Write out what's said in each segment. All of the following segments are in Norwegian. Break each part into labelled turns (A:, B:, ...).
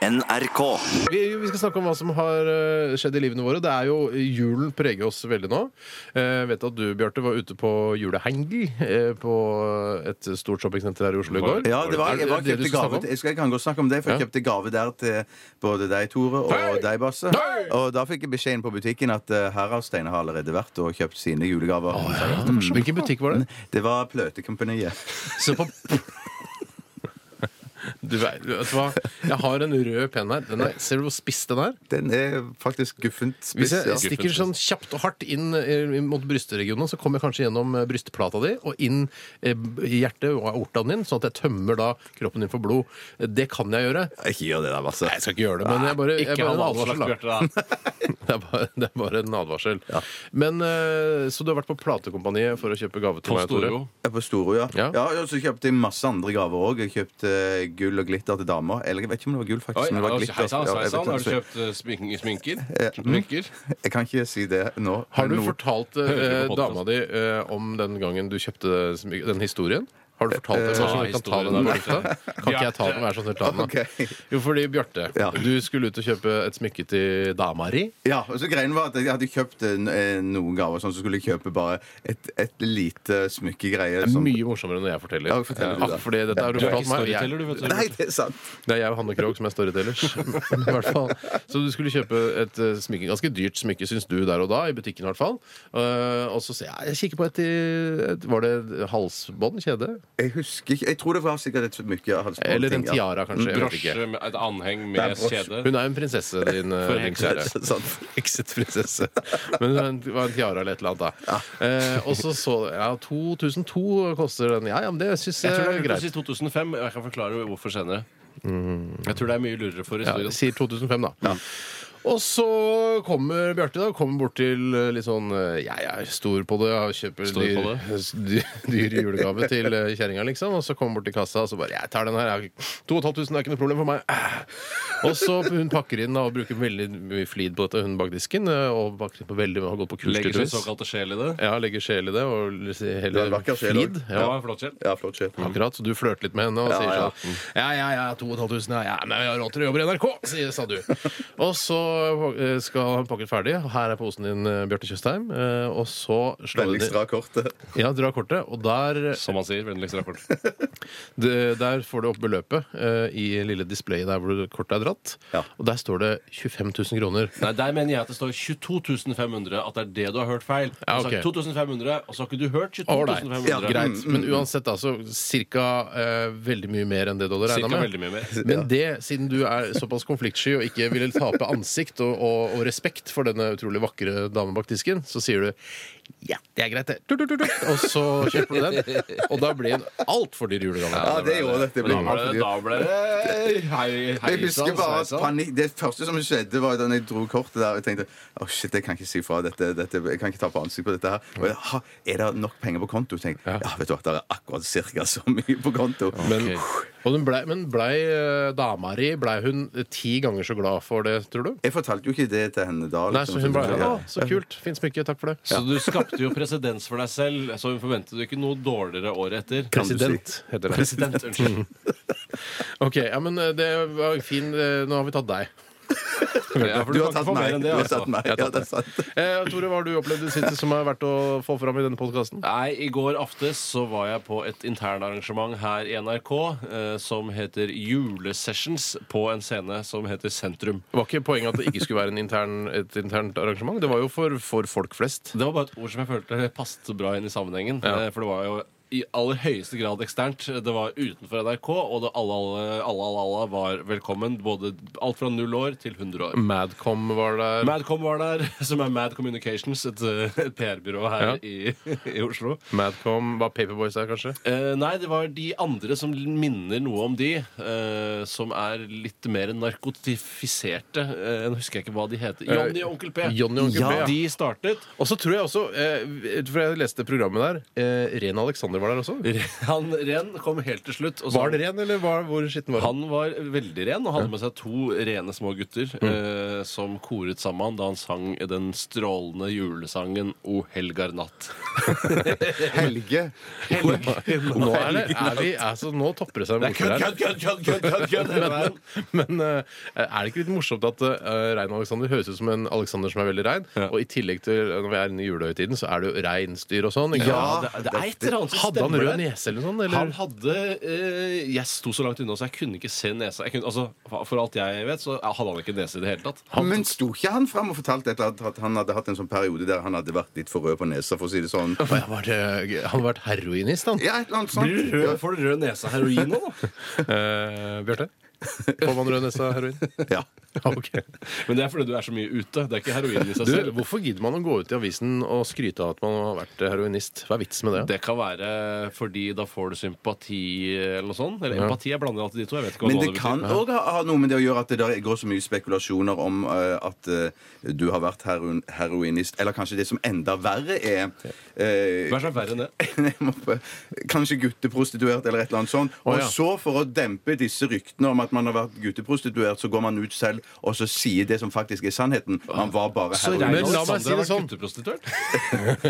A: NRK.
B: Vi, vi skal snakke om hva som har eh, skjedd i livene våre. Det er jo, Julen preger oss veldig nå. Eh, Jeg vet at du, Bjarte, var ute på julehengel eh, på et stort shoppingsenter her i Oslo i går.
A: Ja, det var,
B: Er
A: jeg var
B: det det du
A: kjøpte
B: skal snakke
A: gave
B: om?
A: til- Jeg skal kan godt snakke om det, for jeg
B: Ja.
A: kjøpte gave der til både deg, Tore, og
B: Hei!
A: deg, Basse.
B: Hei!
A: Og da fikk jeg beskjeden på butikken at eh, her har Steinar allerede vært og kjøpt sine julegaver.
B: Mm, Hvilken butikk var det?
A: Det var Pløtekompaniet.
B: Se på du vet, vet du hva? Jeg har en rød penn her. Den er, ser du hvor spiss den er?
A: Den er faktisk guffent spiss.
B: Hvis jeg
A: ja.
B: stikker sånn kjapt og hardt inn eh, mot brystregionen, så kommer jeg kanskje gjennom eh, brystplata di og inn eh, i hjertet og aortaen din, sånn at jeg tømmer da kroppen din for blod. Eh, Det kan jeg gjøre.
A: Ikke gjør det der, Basse.
B: Nei, jeg skal ikke gjøre det, men jeg bare, jeg
C: Ikke
B: bare
C: ha
B: en advarsel.
C: advarsel,
B: Da.
C: Bjarte. da.
B: Det, er bare, det er bare en advarsel. Men, eh, så du har vært på platekompaniet for å kjøpe gave til
C: På
B: meg, Tore?
C: Storo.
A: Jeg er På Storo, ja.
B: Ja.
A: ja. og så kjøpte jeg masse andre gaver òg. Jeg kjøpte eh, gull og glitter til damer. Eller jeg vet ikke om det var gull, faktisk.
C: Oi,
A: men det var
C: oi,
A: glitter.
C: Hei sann,
A: Ja,
C: hei
A: jeg vet
C: sann. Har du
A: ikke.
C: kjøpt eh, smink- sminker? Smykker?
A: Jeg kan ikke si det nå.
B: Har du
A: Noe-
B: fortalt
C: Hører
B: eh,
C: du på
B: dama di eh, om den gangen du kjøpte smy- den historien? Har du fortalt det?
C: Eh,
B: Sånn, at jeg kan, ta den
C: historien
B: på
C: der.
B: lufta? kan ikke jeg ta den? Vær så snill, ta den. da?
A: Ok.
B: Jo, fordi Bjarte,
A: Ja.
B: du skulle ut og kjøpe et smykke til dama di.
A: Ja, og så greien var at Jeg hadde kjøpt eh, noen gaver, sånn, så skulle jeg kjøpe bare et, et lite smykkegreie.
B: Det er
A: som-
B: mye morsommere når jeg forteller.
A: Ja, forteller du
B: Ah,
A: da.
B: fordi dette har du
C: Du er
B: fortalt
C: ikke
B: meg. og jeg-
C: storyteller, du, vet du.
A: Nei, det er sant.
B: Det er jeg og Hanne Krogh som er storytellers. Men i hvert fall. Så du skulle kjøpe et eh, smykke, ganske dyrt smykke, syns du, der og da, i butikken i hvert fall. Eh, og så ser jeg, jeg kikker på et, i- et Var det et halsbånd? Kjede?
A: Jeg husker ikke Jeg tror det var sikkert et smykke. halsbånd,
B: Eller en
A: ting, ja.
B: tiara, kanskje? Jeg vet ikke.
C: Brosje med et anheng
A: Det er
C: med
A: brosje.
C: kjede?
B: Hun er jo en prinsesse, din, eh, din kjære.
A: Det er sant.
B: Hekset prinsesse. Men det var en tiara eller et eller annet, da. Eh, og så så Ja, 2002 koster den. Ja, ja, men det syns jeg
C: Jeg tror det
B: er
C: er
B: greit.
C: greit. i 2005. og Jeg kan forklare hvorfor senere. Jeg tror det er mye lurere for
B: Ja,
C: historien.
B: sier 2005, da. Og så kommer Bjarte da, kommer bort til eh, litt sånn eh, Jeg er stor på det, jeg kjøper
C: Stor
B: dyr,
C: på
B: dyr, dyr julegave til eh, kjerringa, liksom. Og så kommer han bort til kassa og så bare Jeg tar den her. jeg- 2500 er ikke noe problem for meg. Eh, Og så hun pakker inn da, og bruker veldig mye flid på dette, hun bak disken. eh, Og pakker inn på veldig, har gått på kurs
C: Legger sin
B: tydeligvis.
C: såkalte sjel i det.
B: Ja, legger sjel i det, og
A: Du har
B: heller
A: vakker sjel
B: flid.
A: også.
C: Det
B: Ja.
C: var en flott sjel.
A: Ja, flott kjøp.
B: Akkurat, så du flørter litt med henne og
A: Ja,
B: sier
A: ja.
B: sånn Ja, ja, ja, 2500, ja, ja, men jeg har råd til å jobbe i NRK, sier, sa du. og så eh, skal han pakke ferdig. Her er posen din, eh, Bjarte Tjøstheim. eh, Og så slår
A: Vennligst
B: hun i
A: dra kortet.
B: Ja, dra kortet, og der,
C: Som man sier. Vennligst rapport.
B: det- der får du opp beløpet eh, i lille displayet der hvor kortet er dratt.
A: Ja.
B: Og der står det 25 000 kroner.
C: Nei, Der mener jeg at det står 22.500. At det er det du har hørt feil. Altså, Du
B: Ja,
C: har sagt
B: ok.
C: 2500, og så har ikke du hørt
B: Ålreit.
C: 22.500.
A: Ja,
B: Greit. Men
C: mm.
B: uansett, altså, cirka eh, veldig mye mer enn det du hadde regna
C: Cirka
B: med.
C: veldig mye mer.
B: Men det, siden du er såpass konfliktsky og ikke ville tape ansikt og, og, og respekt for denne utrolig vakre damen bak disken, så sier du ja, det er greit, det. Tut, tut, tut, tut. Og så kjøper du den. Og da blir den altfor dyr julegave.
A: Ja, det gjorde det. Det ble
C: Men da ble det, da ble det hei, hei,
A: Jeg husker bare at panikk Det første som skjedde, var da jeg dro kortet der og jeg tenkte Å shit, jeg kan ikke si fra dette, dette Jeg kan ikke ta på ansikt på dette her. Og jeg, ha, er det nok penger på konto? Tenkte, jeg, ja, vet du hva, det er akkurat cirka så mye på konto.
B: Men, og den blei, men blei eh, dama di blei hun ti ganger så glad for det, tror du?
A: Jeg fortalte jo ikke det til henne da. liksom,
B: Nei, så hun blei Å,
A: Ja.
B: så kult. Fint smykke. Takk for det.
C: Så du skapte jo presedens for deg selv, så hun forventet jo ikke noe dårligere året etter.
A: du si.
B: President, heter det.
C: President, unnskyld.
B: Ok, ja, men eh, det var fin eh, Nå har vi tatt deg.
C: Ja, for
A: Du
C: du
A: har
C: kan ikke
A: tatt
C: få
A: meg.
C: mer enn
A: Du
C: det,
A: har
C: altså.
A: tatt meg. Ja, det er sant.
B: Eh, Tore, hva har du opplevd i det siste som er verdt å få fram i denne podkasten?
C: Nei, I går aftes så var jeg på et internarrangement her i NRK eh, som heter Julesessions på en scene som heter Sentrum.
B: Var ikke poenget at det ikke skulle være en intern, et internt arrangement? Det var jo for, for folk flest.
C: Det var bare et ord som jeg følte passet bra inn i sammenhengen.
B: Ja.
C: eh, For det var jo i aller høyeste grad eksternt. Det var utenfor NRK, og det alle, alle, alle, alle, alle var velkommen. Både alt fra null år til 100 år.
B: Madcom var der.
C: Madcom var der, som er Mad Communications, et, eh, et PR-byrå her
B: Ja.
C: i, i Oslo.
B: Madcom var Paperboys der, kanskje?
C: Eh, nei, det var de andre som minner noe om de, eh, som er litt mer narkotifiserte. Eh, nå husker jeg ikke hva de heter. Johnny og Onkel P.
B: Johnny Eh, og Onkel P, ja.
C: De startet.
B: Og så tror jeg også, eh, for jeg leste programmet der, eh, Ren Alexander andre var der også?
C: Han ren kom helt til slutt. og så-
B: Var den ren, eller var, hvor skitten var den?
C: Han var veldig ren og hadde med seg to rene små gutter
B: Mm.
C: eh, som koret sammen med han da han sang den strålende julesangen O helgar natt.
A: Helge.
B: Nå, er det, er vi, altså, nå topper det seg med ordfører her.
C: Men-
B: Men eh, er det ikke litt morsomt at eh, Rein Alexander høres ut som en Alexander som er veldig rein? Og i tillegg til eh, når vi er inne i julehøytiden, så er det jo reinsdyr og sånn. ikke
A: Ja,
B: sant?
C: det, det er et eller annet som
B: Hadde han
C: stemmer
B: rød
C: der.
B: nese eller sånn?
C: Han
B: Eller?
C: hadde eh, Jeg sto så langt unna, så jeg kunne ikke se nesa. Jeg kunne, altså, for- for alt jeg vet, så hadde han ikke nese i det hele tatt.
A: Men sto ikke han fram og fortalte et eller annet at han hadde hatt en sånn periode der han hadde vært litt for rød på nesa, for å si det sånn?
B: Å, jeg var, eh, han har vært heroinist, han.
A: Ja, et eller annet sånt. Ja,
C: får du rød nese av heroin nå, da?
B: Eh, Bjarte? Får man rød nese av heroin?
A: Ja.
B: Ok.
C: Men det er fordi du er så mye ute. Det er ikke heroin i seg
B: Du,
C: selv.
B: hvorfor gidder man å gå ut i avisen og skryte av at man har vært heroinist? Hva er vitsen med det?
C: Det kan være fordi da får du sympati eller noe sånt. Eller empati. Jeg blander alltid de to. Jeg vet ikke hva
A: Men
C: noe
A: det kan òg ha, ha noe med det å gjøre at det der går så mye spekulasjoner om eh, at eh, du har vært heroin, heroinist, eller kanskje det som enda verre er eh,
C: Vær så verre enn det.
A: Nei, jeg må prøve. Kanskje gutteprostituert eller et eller annet sånt.
B: Å,
A: Og
B: ja.
A: så, for å dempe disse ryktene om at man har vært gutteprostituert, så går man ut selv og så sier det som faktisk er sannheten. Man var bare
B: Men
A: heroinist.
B: la meg si det sånn.
C: Gutteprostituert?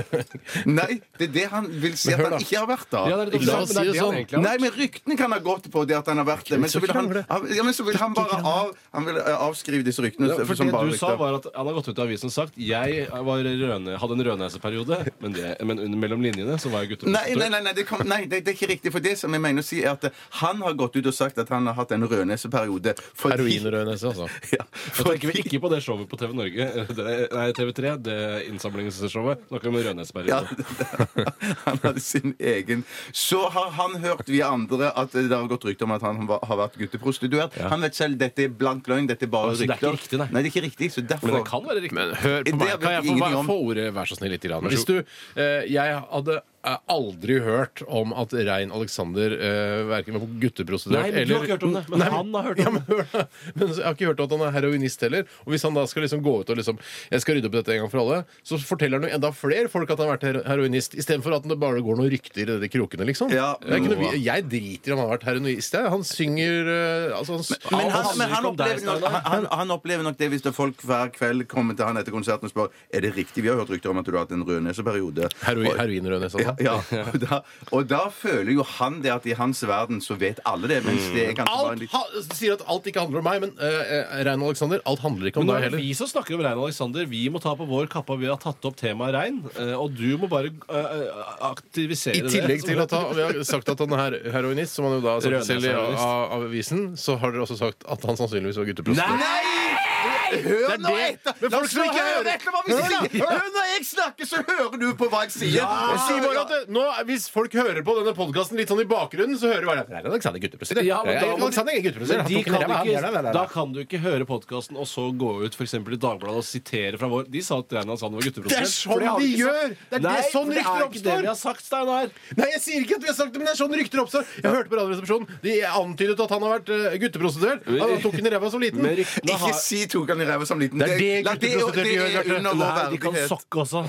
A: Nei, det er det han vil si at
B: hør
A: han
B: da.
A: ikke har vært da.
C: Ja, det er det
B: La oss si det
C: han
B: sånn.
C: egentlig har
A: Nei, men ryktene kan ha gått på det at han har vært det. Men så vil han, han- ja, men så vil han bare av, han vil eh, avskrive disse ryktene.
C: Ja, for
A: som bare
C: det du sa
A: rykter.
C: var at Han har gått ut i avisen og sagt Jeg var rødne, hadde en rødneseperiode, men, det, men under, mellom linjene så var jeg
A: Nei, nei,
C: gutteprostituert.
A: nei, nei, det, kom, nei det, det er ikke riktig. For det som jeg mener å si, er at eh, han har gått ut og sagt at han har hatt en rødneseperiode. fordi-
B: Heroin og rød nese, altså.
A: Ja,
C: Da tenker vi
A: fordi-
C: ikke på det showet på TV Norge det, Nei, TV3, det innsamlingsshowet. Noe om
A: Ja,
C: rødneseperiode.
A: han hadde sin egen Så har han hørt via andre at det har gått rykter om at han var- har vært gutteprostituert. Han vet selv dette er blank løgn, dette er bare
C: Å, så Altså, det er ikke
A: rykter.
C: riktig, nei.
A: det er ikke riktig, så derfor
C: Men det kan være riktig.
B: Men hør på
A: Det
B: meg.
A: vet
B: Kan jeg få,
A: ingenting om.
B: få ordet, vær så snill, litt? Grann. Hvis du, eh, jeg hadde eh, aldri hørt om at Rein Alexander eh, verken var gutteprostituert
C: Nei, men du har ikke hørt om det, men han har hørt om
B: ja, men, hør da. men jeg har ikke hørt at han er heroinist heller. Og hvis han da skal liksom gå ut og liksom Jeg skal rydde opp i dette en gang for alle, så forteller han jo enda flere folk at han har vært her- heroinist, istedenfor at det bare går noen rykter i de krokene, liksom.
A: Ja.
B: Det er ikke noe, vi- jeg driter i om han har vært heroinist. jeg. Han synger eh, altså, han,
A: Men
C: Ja,
A: han, men
C: det
A: han,
C: handler ikke om deg,
A: opplever nok,
C: Steinar.
A: han, han- han opplever nok det hvis det er folk hver kveld kommer til han etter konserten og spør Er det riktig vi har hørt rykter om at du har hatt en rødneseperiode.
B: Heroin,
A: Og-
B: heroinrød nese,
A: Ja,
B: altså.
A: ja. Og, da, og da føler jo han det at i hans verden så vet alle det. Mens
C: Mm.
A: det er kanskje bare en
B: Alt
A: litt
B: ha, sier at alt ikke handler om meg, men uh, Rein Alexander, alt handler ikke om
C: Men nå
B: deg
C: er det
B: Sånn heller.
C: vi som snakker om Rein Alexander. Vi må ta på vår kappa. Vi har tatt opp temaet rein. eh, Og du må bare eh, aktivisere
B: I
C: det.
B: tillegg til at han, vi har sagt at han er heroinist, som han jo da har sagt selv i
C: Rødnes-heroinist.
B: av- av avisen, så har dere også sagt at han sannsynligvis var gutteprostituert.
A: Nei! Hør nå
B: det-
A: etter!
B: Men
A: La
B: folk
A: oss
B: skal
A: ikke
B: høre!
A: høre etter hva vi
B: Hør da,
A: sier!
B: hør!
A: Hør når jeg snakker, så hører du på hva jeg sier!
B: Jeg
A: Jeg
B: sier
A: sier
B: bare at det, nå, Hvis folk hører på denne podkasten litt sånn i bakgrunnen, så hører de bare Rein Alexander gutteprostituert.
C: Ja, men da
B: Rein
C: må-
B: Alexander er gutteprostituert.
C: Men
B: Han
C: de
B: tok den
C: kan
B: ræva, han gjør det,
C: ikke,
B: det,
C: da
B: det.
C: kan du ikke høre podkasten og så gå ut for eksempel i Dagbladet og sitere fra vår. De sa at Rein Alexander var
B: Det er
C: gutteprostituert.
B: sånn
C: For har
B: de
C: ikke sagt-
B: gjør! Det er det
C: Nei,
B: sånn
C: for det
B: rykter
C: er ikke det
B: oppstår.
C: vi har sagt, Steinar.
B: Nei, jeg sier ikke at vi har sagt det, men det er sånn rykter oppstår. Jeg hørte på Radioresepsjonen. De antydet at han har vært eh, gutteprostituert. Han tok den i ræva som liten.
C: Men ryktene
A: Ikke
C: har
A: si tok han i ræva som liten.
B: Det er det
A: la- er-
B: gutteprostituerte
A: det
B: gjør,
A: er
B: Bjarte.
A: under vår
C: Nei, de kan
A: verdighet.
C: sokke også.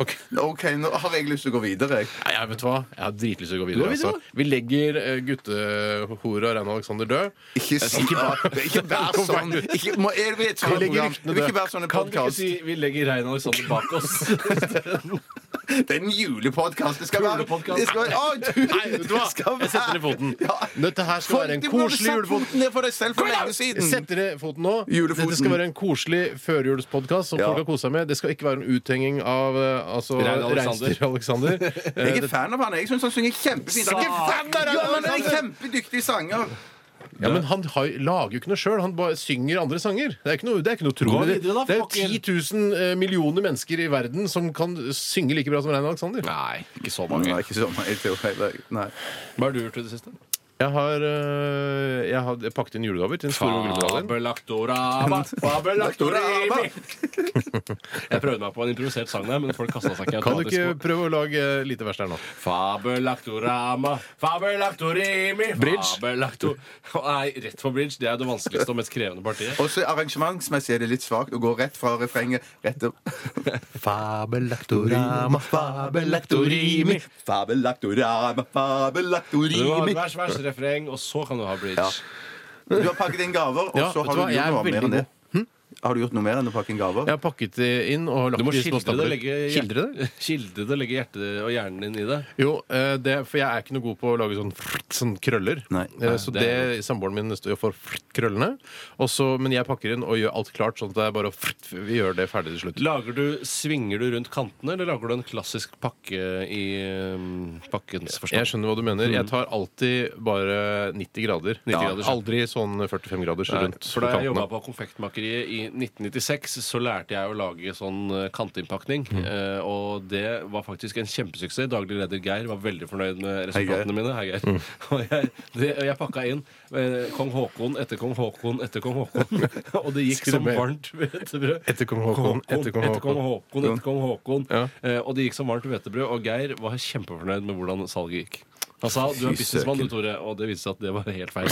A: Ok, OK, nå har jeg lyst til å gå videre. jeg.
B: Nei, jeg vet hva? Jeg har dritlyst til å gå videre.
C: Gå videre,
B: Altså. Vi legger eh, guttehora Rein Alexander død.
A: Ikke, si, ikke vær sånn. Ikke, må, er vi et sånt
B: legger
A: program?
B: ryktene
A: Vi vil
B: død.
A: ikke være sånn sånne
C: Kan du ikke
A: podkast.
C: si 'vi legger Rein Alexander bak oss'?
A: Det er en julepodkast. Det skal være
C: Julepodcast.
A: det skal være, Å, du,
B: Nei, vet du hva?
A: det skal
B: Jeg setter ned
A: være-
B: foten.
A: Ja.
B: Dette her skal være en
A: Du burde
B: koselig
A: satt
B: julepodkast.
A: foten ned for deg selv for lenge
B: Jeg
A: siden.
B: setter ned foten nå.
A: Julefoten.
B: Dette skal være en koselig førjulspodkast som
A: Ja.
B: folk har kost seg med. Det skal ikke være en uthenging av eh, altså,
C: Rein Alexander.
B: reinsdyr Alexander. Eh,
A: Jeg er fan av han. Jeg syns han synger kjempefint. Han er ikke fan av ja, men
B: altså-
A: han er kjempedyktig sanger.
B: Ja, men han har, lager jo ikke noe sjøl. Han bare synger andre sanger. Det er ikke noe, det er ikke noe tro.
C: Gå videre da,
B: det er jo 10
C: fucker.
B: 000 eh, millioner mennesker i verden som kan synge like bra som Rein Alexander.
C: Nei, ikke så
A: Nei, ikke så mange. Jeg tror heller- Nei.
C: Hva har du gjort i det siste?
B: Jeg har, øh, jeg har pakket inn julegaver til den store julemedaljen.
C: Fabelaktorama, fabelaktorama. Jeg prøvde meg på en improvisert sang der, men folk kasta seg ikke
B: Kan du
C: automatisk
B: ikke
C: på
B: prøve å lage eh, lite vers der nå?
C: Fabelaktorama, fabelaktorimi
B: Bridge?
C: Fabelaktor... Nei, rett for bridge. Det er det vanskeligste og mest krevende partiet.
A: Også arrangementsmessig er det litt svakt å gå rett fra refrenget rett opp.
B: Fabelaktorama, fabelaktorimi.
A: Fabelaktorama,
C: Du har
A: fabelaktorimi.
C: vers, vers, refreng, og så kan du ha bridge.
A: Ja. Du har pakket inn gaver, og
B: Ja,
A: så
B: vet
A: har
B: du
A: du
B: hva, jeg
A: gjort
B: er
A: noe mer
B: veldig Hm?
A: enn det. Har du gjort noe mer enn å pakke inn gaver?
B: Jeg har pakket det inn og lagt
C: Du må
B: det i små
C: skildre det,
B: stabler.
C: legge,
B: Skildre det?
C: hjert- skildre det, legge hjertet og hjernen din i det.
B: Jo, eh, det, for jeg er ikke noe god på å lage sånn, frrt, sånn krøller.
A: Nei.
B: Eh, så det, samboeren min står for frrt, krøllene. Og så- men jeg pakker inn og gjør alt klart, sånn at det er bare å frrt, vi gjør det ferdig til slutt.
C: Lager du, Svinger du rundt kantene, eller lager du en klassisk pakke i um, pakkens forstand?
B: Jeg skjønner hva du mener. Jeg tar alltid bare 90 grader.
C: 90 grader, skjønner.
B: Aldri sånn 45 graders
C: Nei,
B: rundt
C: For da jeg jobba
B: kantene.
C: på Konfektmakeriet i 1996, så lærte jeg å lage sånn eh, kanteinnpakning.
B: Mm.
C: Eh, og det var faktisk en kjempesuksess. Daglig leder Geir var veldig fornøyd med resultatene mine. Hei, Geir.
B: Mm.
C: Og jeg, det, og jeg pakka inn eh, kong Haakon etter kong Haakon etter kong Haakon. og det gikk som
B: Skrubber.
C: varmt hvetebrød.
B: Etter kong Haakon, etter kong
C: etter kong Haakon, etter kong Haakon.
B: Ja.
C: Eh, og det gikk som varmt hvetebrød. Og Geir var kjempefornøyd med hvordan salget gikk. Han sa du er
A: Fy
C: businessmann,
A: søken.
C: du, Tore. Og det viste seg at det var helt feil.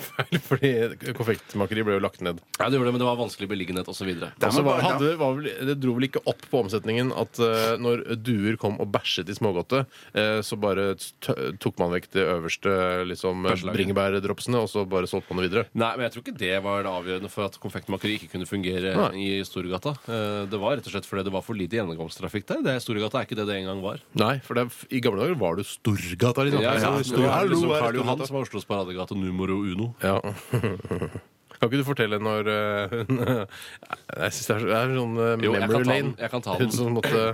B: Fordi konfektmakeri ble jo lagt ned.
C: Ja, det gjorde det, men det var vanskelig beliggenhet osv.
A: Der
B: Og så var,
A: må bare-
B: Altså, hadde, var vel, det dro vel ikke opp på omsetningen at eh, når duer kom og bæsjet i smågodtet, eh, så bare t tok man vekk det øverste liksom, eh,
C: Bæsjelaget.
B: bringebærdropsene, og så bare solgte man det videre.
C: Nei, men jeg tror ikke det var det avgjørende for at konfektmakeri ikke kunne fungere
B: Nei.
C: i Storgata. Eh, Det var rett og slett fordi det var for lite gjennomgangstrafikk der. Det er Storgata er ikke det det en gang var.
B: Nei, for det, er- i gamle dager var det Storgata. Liksom.
C: Ja, ja,
B: Stor-
C: Det var
B: Hallo,
C: liksom
B: her er
C: Karl Johan
B: Storgata.
C: som var Oslos paradegate numero uno.
B: Ja. Kan ikke du fortelle når eh, hun Jeg syns det er så- det er sånn eh,
C: Jo, jeg kan
B: memory
C: ta den.
B: lane.
C: Jeg kan ta
B: Hun
C: den.
B: som måtte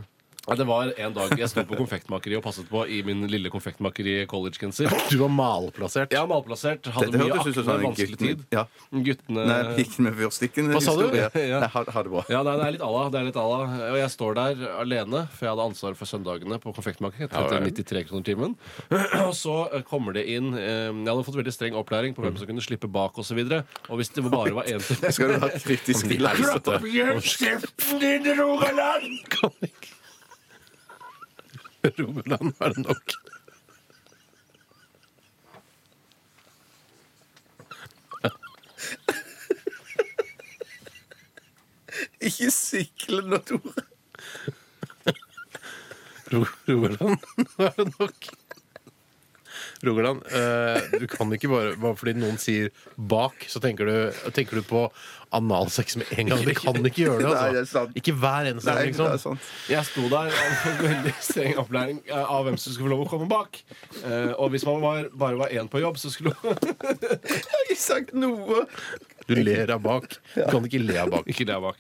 C: Nei, Det var en dag jeg sto på konfektmakeri og passet på i min lille konfektmakeri-collegegenser.
B: Du var malplassert.
C: Jeg er malplassert, hadde
A: Dette
C: mye
A: hørtes ut
C: akne,
A: som en
C: vanskelig
A: gutten-
C: tid.
A: Ja.
C: Guttene
A: Nei, pikken med fyrstikken.
B: Hva sa du?
A: historie.
C: Ja.
A: Nei, ha, ha det bra.
C: Ja, nei, det er litt à la. det er litt à la. Og jeg står der alene, for jeg hadde ansvar for søndagene på konfektmarkedet.
B: Ja,
C: etter
B: vel.
C: 93 kroner timen. Og så eh, kommer det inn eh, Jeg hadde fått veldig streng opplæring på hvem som kunne slippe bak osv. Og, så videre. og hvis det bare var én til
A: Det skal du ha kritisk til.
B: Klapp opp
C: kjeften din, Rogaland!
B: Kan ikke Rogaland er det nok.
A: Ikke sikle nå, Tore.
B: Ro Rogaland er det nok. Rogaland, eh, du kan ikke bare Bare fordi noen sier 'bak', så tenker du, tenker du på analsex med en gang. Du kan ikke gjøre det.
A: Nei, det er
B: Altså.
A: sant.
B: Ikke hver eneste
A: Nei,
B: gang,
A: det er
B: liksom.
A: sant.
C: Jeg sto der og fikk veldig streng opplæring eh, av hvem som skulle få lov å komme bak. Eh, og hvis man var, bare var én på jobb, så skulle
A: Jeg har ikke sagt noe.
B: Du ler av bak. Du kan ikke le av bak.
C: Ikke der bak.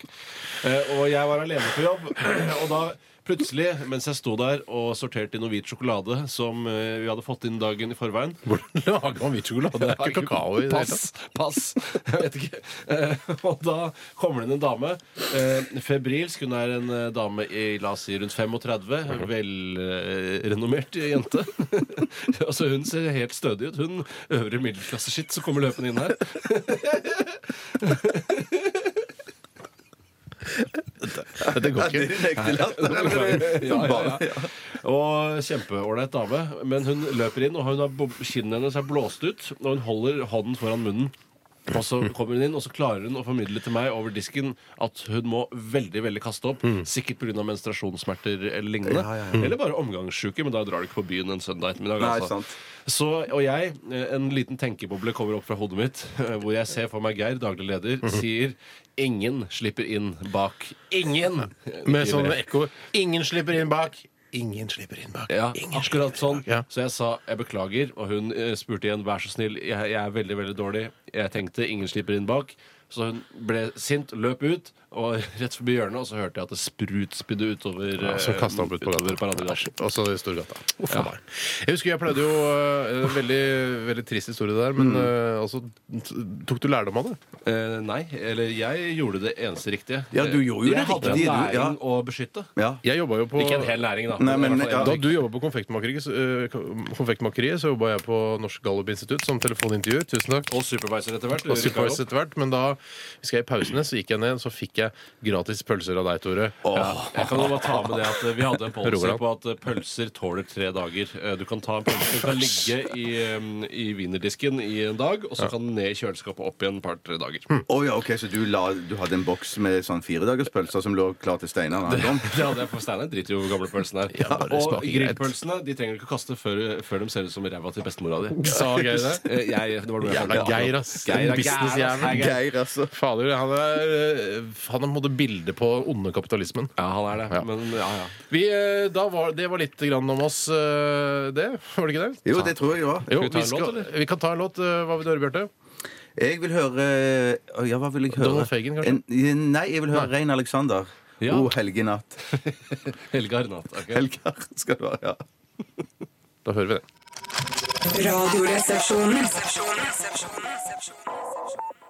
C: Eh, og jeg var alene på jobb, og da plutselig, mens jeg sto der og sorterte inn noe hvit sjokolade som eh, vi hadde fått inn dagen i forveien
B: Hvordan lager man hvit sjokolade? Det er ikke kakao i det hele tatt.
C: Pass! pass Jeg vet ikke. Eh, og da kommer det inn en dame. Eh, febrilsk. Hun er en eh, dame i la oss si rundt 35.
B: Mhm.
C: Velrenommert jente. altså Hun ser helt stødig ut. Hun øvre middelklasse-skitt som kommer løpende inn her.
B: Dette går
A: Det
B: ikke.
A: er din ekte latter.
C: Ja, ja,
A: Bare-
C: ja. Og kjempeålreit dame. Men hun løper inn, og hun har bob- skinnene hennes er blåst ut. Og hun holder hånden foran munnen. Og så kommer hun inn, og så klarer hun å formidle til meg over disken at hun må veldig veldig kaste opp. Sikkert pga. menstruasjonssmerter eller
A: Mm.
C: lignende.
A: Ja, ja,
C: Eller bare omgangssjuke, men da drar du ikke på byen en søndag ettermiddag.
A: Nei,
C: altså.
A: sant.
C: Så, og jeg, eh, en liten tenkeboble kommer opp fra hodet mitt, eh, hvor jeg ser for meg Geir, daglig leder,
A: Mhm.
C: sier ingen slipper inn bak. Ingen!
B: Med
C: Ikke
B: sånn
C: mer.
B: ekko. Ingen slipper inn bak. Ingen slipper inn bak.
C: Ja,
B: Ingen slipper inn
C: akkurat sånn.
B: bak. Ja.
C: Så jeg sa jeg beklager, og hun eh, spurte igjen vær så snill, jeg, jeg er veldig veldig dårlig. Jeg tenkte ingen slipper inn bak. Så hun ble sint, løp ut, og rett forbi hjørnet, og så hørte jeg at det sprutspydde utover,
B: Ja, så
C: eh,
B: kastet han opp ut på
C: utover
B: gata.
C: paradeglasjen.
B: Og så i Storgata. Ja. Jeg husker jeg pleide jo eh, en veldig, veldig trist historie der, men eh, altså, t- tok du lærdom av det?
C: Eh, nei, eller jeg gjorde det eneste riktige.
A: Ja, du gjorde jo det
C: jeg hadde
A: riktige,
C: en
A: du,
C: næring
A: ja.
C: å beskytte.
A: Ja.
B: Jeg jobbet jo på
C: Ikke en hel næring, da.
A: Nei, men-
C: Det var i hvert fall en
A: ja.
B: Da
C: næring.
B: du jobba på Konfektmakeriet, så, eh, ko- konfektmakeriet, så jobba jeg på Norsk Gallup-institutt som telefonintervjuer. Tusen takk.
C: Og supervisor etter hvert.
B: Og surprise etter hvert, men da husker jeg i pausene så gikk jeg ned, så fikk jeg gratis pølser av deg, Tore.
C: Ja, jeg kan jo bare ta med det at eh, Vi hadde en policy
B: Rogaland.
C: på at eh, pølser tåler tre dager. Eh, Du kan ta en pølse som kan ligge i, eh, i wienerdisken i en dag, og så kan den ned i kjøleskapet opp igjen et par-tre dager.
B: Hm.
A: Å ja, ok, Så du, la, du hadde en boks med sånn firedagerspølser som lå klar til Steinar da han kom?
C: Det hadde jeg for Steinar driter jo hvor gamle pølsene er.
B: Ja, bare
C: og
B: smaker greit.
C: grillpølsene de trenger du ikke kaste før, før de ser ut som ræva til bestemora di.
B: Sa Geir det?
C: Eh, Jeg, det var noe jeg
B: Jævla
C: fant på.
B: Geir, ass.
C: Geir er
B: Den businessjævelen.
C: gæren, ass. Hei, Geir.
A: Geir, altså.
B: Fader, han er eh, Han har måttet bilde på onde kapitalismen.
C: Ja, han er det.
B: Ja.
C: Men ja, ja.
B: Vi, eh, da var, det var litt grann om oss, eh, det. Var det ikke det?
A: Jo, det tror jeg jo.
B: Jo,
C: Skal vi
B: vi,
C: ta en
B: skal,
C: låt, eller?
B: vi kan ta en låt. eh, Hva vil du høre, Bjarte?
A: Jeg vil høre Å, Ja, hva vil jeg høre?
B: Donald Fagan, kanskje?
A: En, nei, jeg vil høre Rein Alexander.
C: Ja.
A: O helge natt.
C: Helge Arnat. ok.
A: Helger skal det være. ja
B: Da hører vi det.
D: Radioresepsjonen.